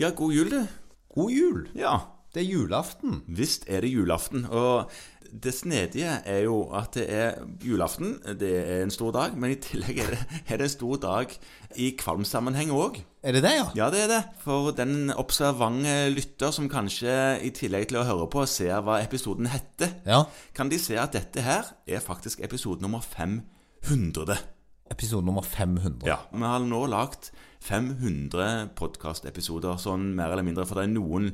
Ja, god jul, du. God jul! Ja, Det er julaften. visst er det julaften. Og det snedige er jo at det er julaften, det er en stor dag, men i tillegg er det, er det en stor dag i kvalmsammenheng òg. Er det det, ja? Ja, det er det. For den observante lytter som kanskje, i tillegg til å høre på, ser hva episoden heter, Ja. kan de se at dette her er faktisk episode nummer 500. Episode nummer 500. Ja. Vi har nå lagt 500 podkastepisoder, sånn mer eller mindre, for det er noen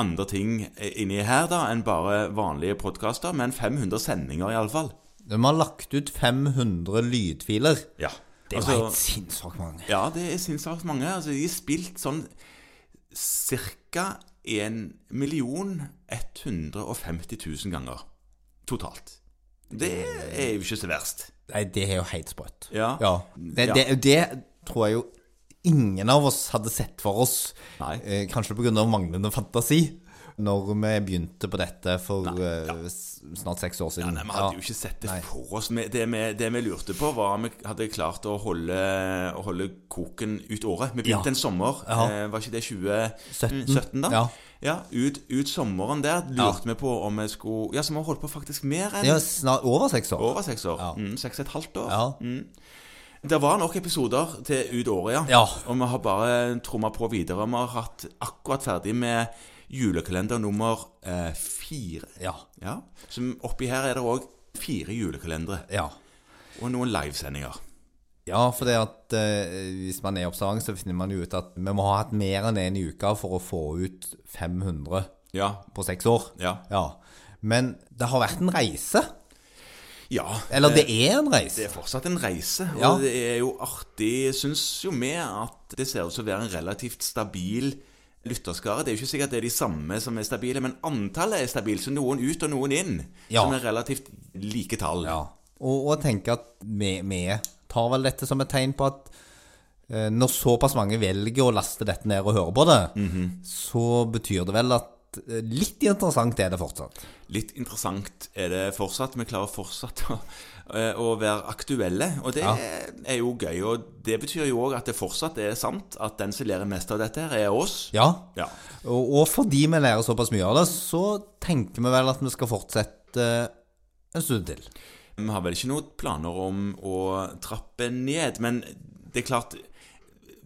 andre ting inni her da, enn bare vanlige podkaster, men 500 sendinger iallfall. Vi har lagt ut 500 lydfiler. Ja. Det er jo Altså, helt sinnssykt mange. ja, det er sinnssvakt mange. Altså, de har spilt sånn ca. 1 150 000 ganger totalt. Det er jo ikke så verst. Nei, det er jo helt sprøtt. Ja. ja. Det, Ja. det, det tror jeg jo ingen av oss hadde sett for oss. Nei. Eh, kanskje pga. manglende fantasi. Når vi begynte på dette for eh, s- snart seks år siden. Nei, Vi hadde jo ikke sett det for oss. Vi- Det vi, det vi lurte på, var om vi hadde klart å holde, å holde koken ut året. Vi Ja. begynte en sommer, Ja. eh, var ikke det 2017, da? Ja. Ja, ut, ut sommeren der lurte vi på om vi skulle Ja, så vi har holdt på faktisk mer enn Det er jo snart over seks år. over seks år. Mm, seks og et halvt år. Ja. Det var nok episoder til ut året, ja. Ja. Og vi har bare tromma på videre. Vi har hatt akkurat ferdig med julekalender nummer eh, fire. Ja. Ja, så oppi her er det òg fire julekalendere ja. og noen livesendinger. Ja, for det at eh, hvis man er observant, så finner man jo ut at vi må ha hatt mer enn én uke for å få ut 500 Ja. på seks år. Ja. Men det har vært en reise. ja. Eller det er en Det reise. er fortsatt en reise, og Ja. det er jo artig, syns jo vi, at det ser ut som å være en relativt stabil lytterskare. Det er jo ikke sikkert det er de samme som er stabile, men antallet er stabilt. Så noen ut og noen inn, Ja. som er relativt like tall. Ja. Og, og tenke at vi, vi tar vel dette som et tegn på at eh, når såpass mange velger å laste dette ned og høre på det, Mhm. så betyr det vel at eh, litt interessant er det fortsatt. Litt interessant er det fortsatt. Vi klarer fortsatt å, eh, å være aktuelle, og det Ja. er jo gøy. Og det betyr jo òg at det fortsatt er sant at den som lærer mest av dette, her, er oss. Ja. Ja. Og, og fordi vi lærer såpass mye av det, så tenker vi vel at vi skal fortsette en stund til. Vi har vel ikke noen planer om å trappe ned, men det er klart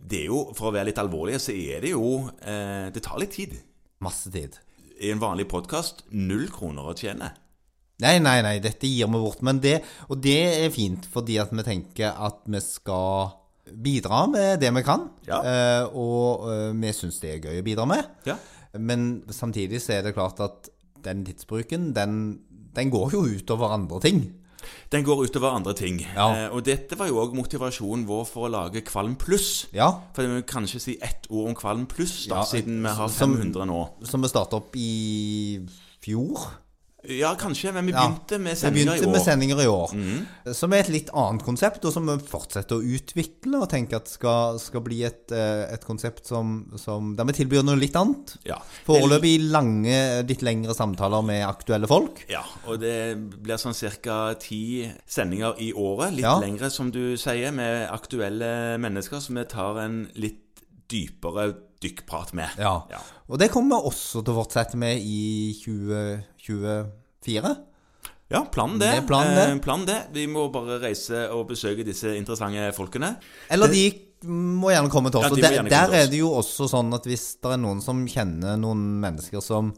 det er jo, For å være litt alvorlig, så er det jo eh, Det tar litt tid. Masse tid. I en vanlig podkast null kroner å tjene. Nei, nei, nei, dette gir vi bort. Men det, og det er fint, fordi at vi tenker at vi skal bidra med det vi kan. Ja. Eh, og eh, vi syns det er gøy å bidra med. Ja. Men samtidig så er det klart at den tidsbruken, den, den går jo utover andre ting. Den går utover andre ting. Ja. Eh, og dette var jo òg motivasjonen vår for å lage Kvalm pluss. Ja. For vi må kanskje si ett ord om Kvalm pluss, da, Ja, siden vi har som- 500 nå. Som vi starta opp i fjor. Ja, kanskje, men vi Ja. begynte med Vi sendinger i begynte år. Mm. med sendinger i år, som er et litt annet konsept, og som vi fortsetter å utvikle og tenker at skal, skal bli et, eh, et konsept som, som der vi tilbyr noe litt annet. Ja. Foreløpig lange, litt lengre samtaler med aktuelle folk. Ja, og det blir sånn ca. ti sendinger i året. Litt Ja. lengre, som du sier, med aktuelle mennesker som vi tar en litt dypere dykkprat med. Ja. Ja. Og det kommer vi også til å fortsette med i 2024. Ja, planen det. Det er planen det. Eh, planen det. Vi må bare reise og besøke disse interessante folkene. Eller de må gjerne komme til oss. Ja, de og må der, gjerne komme der til oss. er det jo også sånn at hvis det er noen som kjenner noen mennesker som,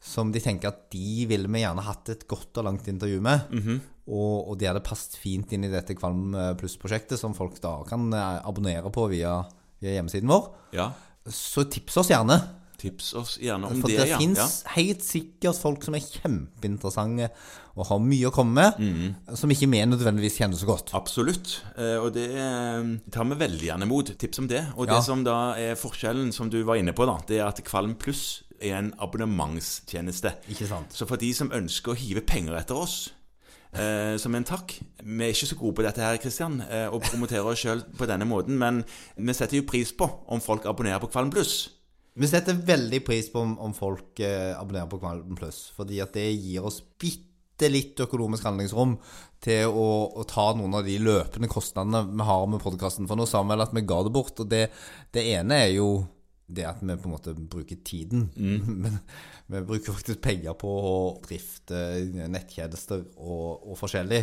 som de tenker at de ville vi gjerne hatt et godt og langt intervju med, Mhm. og, og de hadde passet fint inn i dette Kvalm eh, pluss-prosjektet, som folk da kan eh, abonnere på via, via hjemmesiden vår, Ja, så tips oss gjerne. Tips oss gjerne om For det, det, ja. finnes ja. helt sikkert folk som er kjempeinteressante og har mye å komme med, Mhm. som ikke vi nødvendigvis kjenner så godt. Absolutt, eh, og det eh, tar vi veldig gjerne mot. Tips om det. Og Ja. det som da er forskjellen, som du var inne på, da, det er at Kvalm Pluss er en abonnementstjeneste. Ikke sant? Så for de som ønsker å hive penger etter oss eh, som en takk Vi er ikke så gode på dette her, Kristian, eh, å promotere oss sjøl på denne måten, men vi setter jo pris på om folk abonnerer på Kvalm Pluss. Vi setter veldig pris på om, om folk eh, abonnerer på Kvalm Pluss, fordi at det gir oss bitte bitte litt økonomisk handlingsrom til å, å ta noen av de løpende kostnadene vi har med podkasten. For nå sa vi vel at vi ga det bort, og det, det ene er jo det at vi på en måte bruker tiden. Men vi bruker faktisk penger på å drifte nettjenester og, og forskjellig.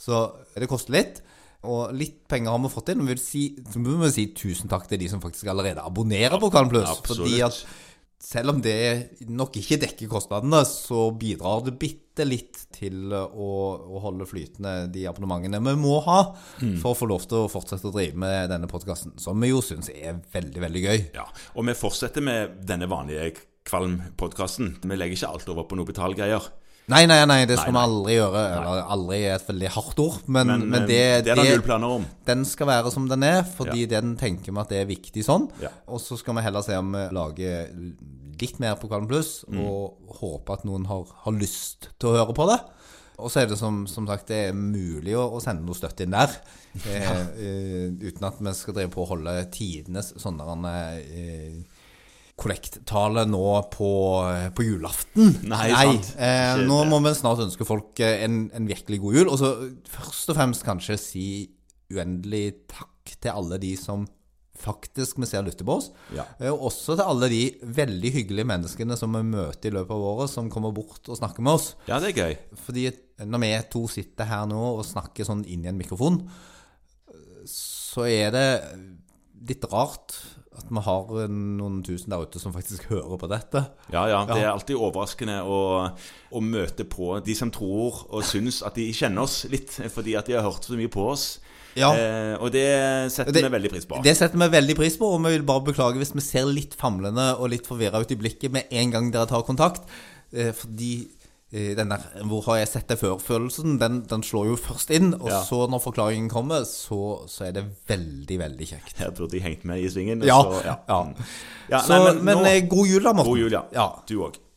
Så det koster litt. Og litt penger har vi fått inn. Og vi vil si, så må vi si tusen takk til de som faktisk allerede abonnerer på Kan Plus. Absolutt. Altså, Fordi at selv om det nok ikke dekker kostnadene, så bidrar det bitte litt til å, å holde flytende de abonnementene vi må ha Mm. for å få lov til å fortsette å drive med denne podkasten, som vi jo syns er veldig, veldig gøy. Ja, og vi fortsetter med denne vanlige Kvalm-podkasten. Vi legger ikke alt over på noe betalgreier. Nei, nei, nei, det skal Nei, vi aldri gjøre. Eller aldri er et veldig hardt ord, men, men, eh, det, det er det null planer om. den skal være som den er, fordi den tenker vi at det er viktig sånn. Ja. Og så skal vi heller se om vi lager litt mer på Kvalm Pluss, Mm. og håpe at noen har, har lyst til å høre på det. Og så er det som, som sagt det er mulig å, å sende noe støtte inn der, eh, eh, uten at vi skal drive på å holde tidenes sånne eh, kollekttale nå på, eh, på julaften. Nei, sant. Eh, Ikke nå det. må vi snart ønske folk eh, en, en virkelig god jul. Og så først og fremst kanskje si uendelig takk til alle de som faktisk vi ser lytter på oss. Ja. Eh, Og også til alle de veldig hyggelige menneskene som vi møter i løpet av året, som kommer bort og snakker med oss. Ja, det er gøy. Fordi når vi to sitter her nå og snakker sånn inn i en mikrofon, så er det litt rart at vi har noen tusen der ute som faktisk hører på dette. Ja, ja. Det er alltid overraskende å, å møte på de som tror og syns at de kjenner oss litt, fordi at de har hørt så mye på oss. Ja. Eh, og det setter Det- vi veldig pris på. Det setter vi veldig pris på, og vi vil bare beklage hvis vi ser litt famlende og litt forvirra ut i blikket med en gang dere tar kontakt. Eh, fordi eh, den der 'hvor har jeg sett deg før'-følelsen, den, den slår jo først inn. Og Ja. så, når forklaringen kommer, så, så er det veldig, veldig kjekt. Her burde de hengt med i svingen. og Ja. så- ja. Ja, Så, nei, men men nå- eh, god jul, da, Morten. God jul, ja. Ja. Du òg.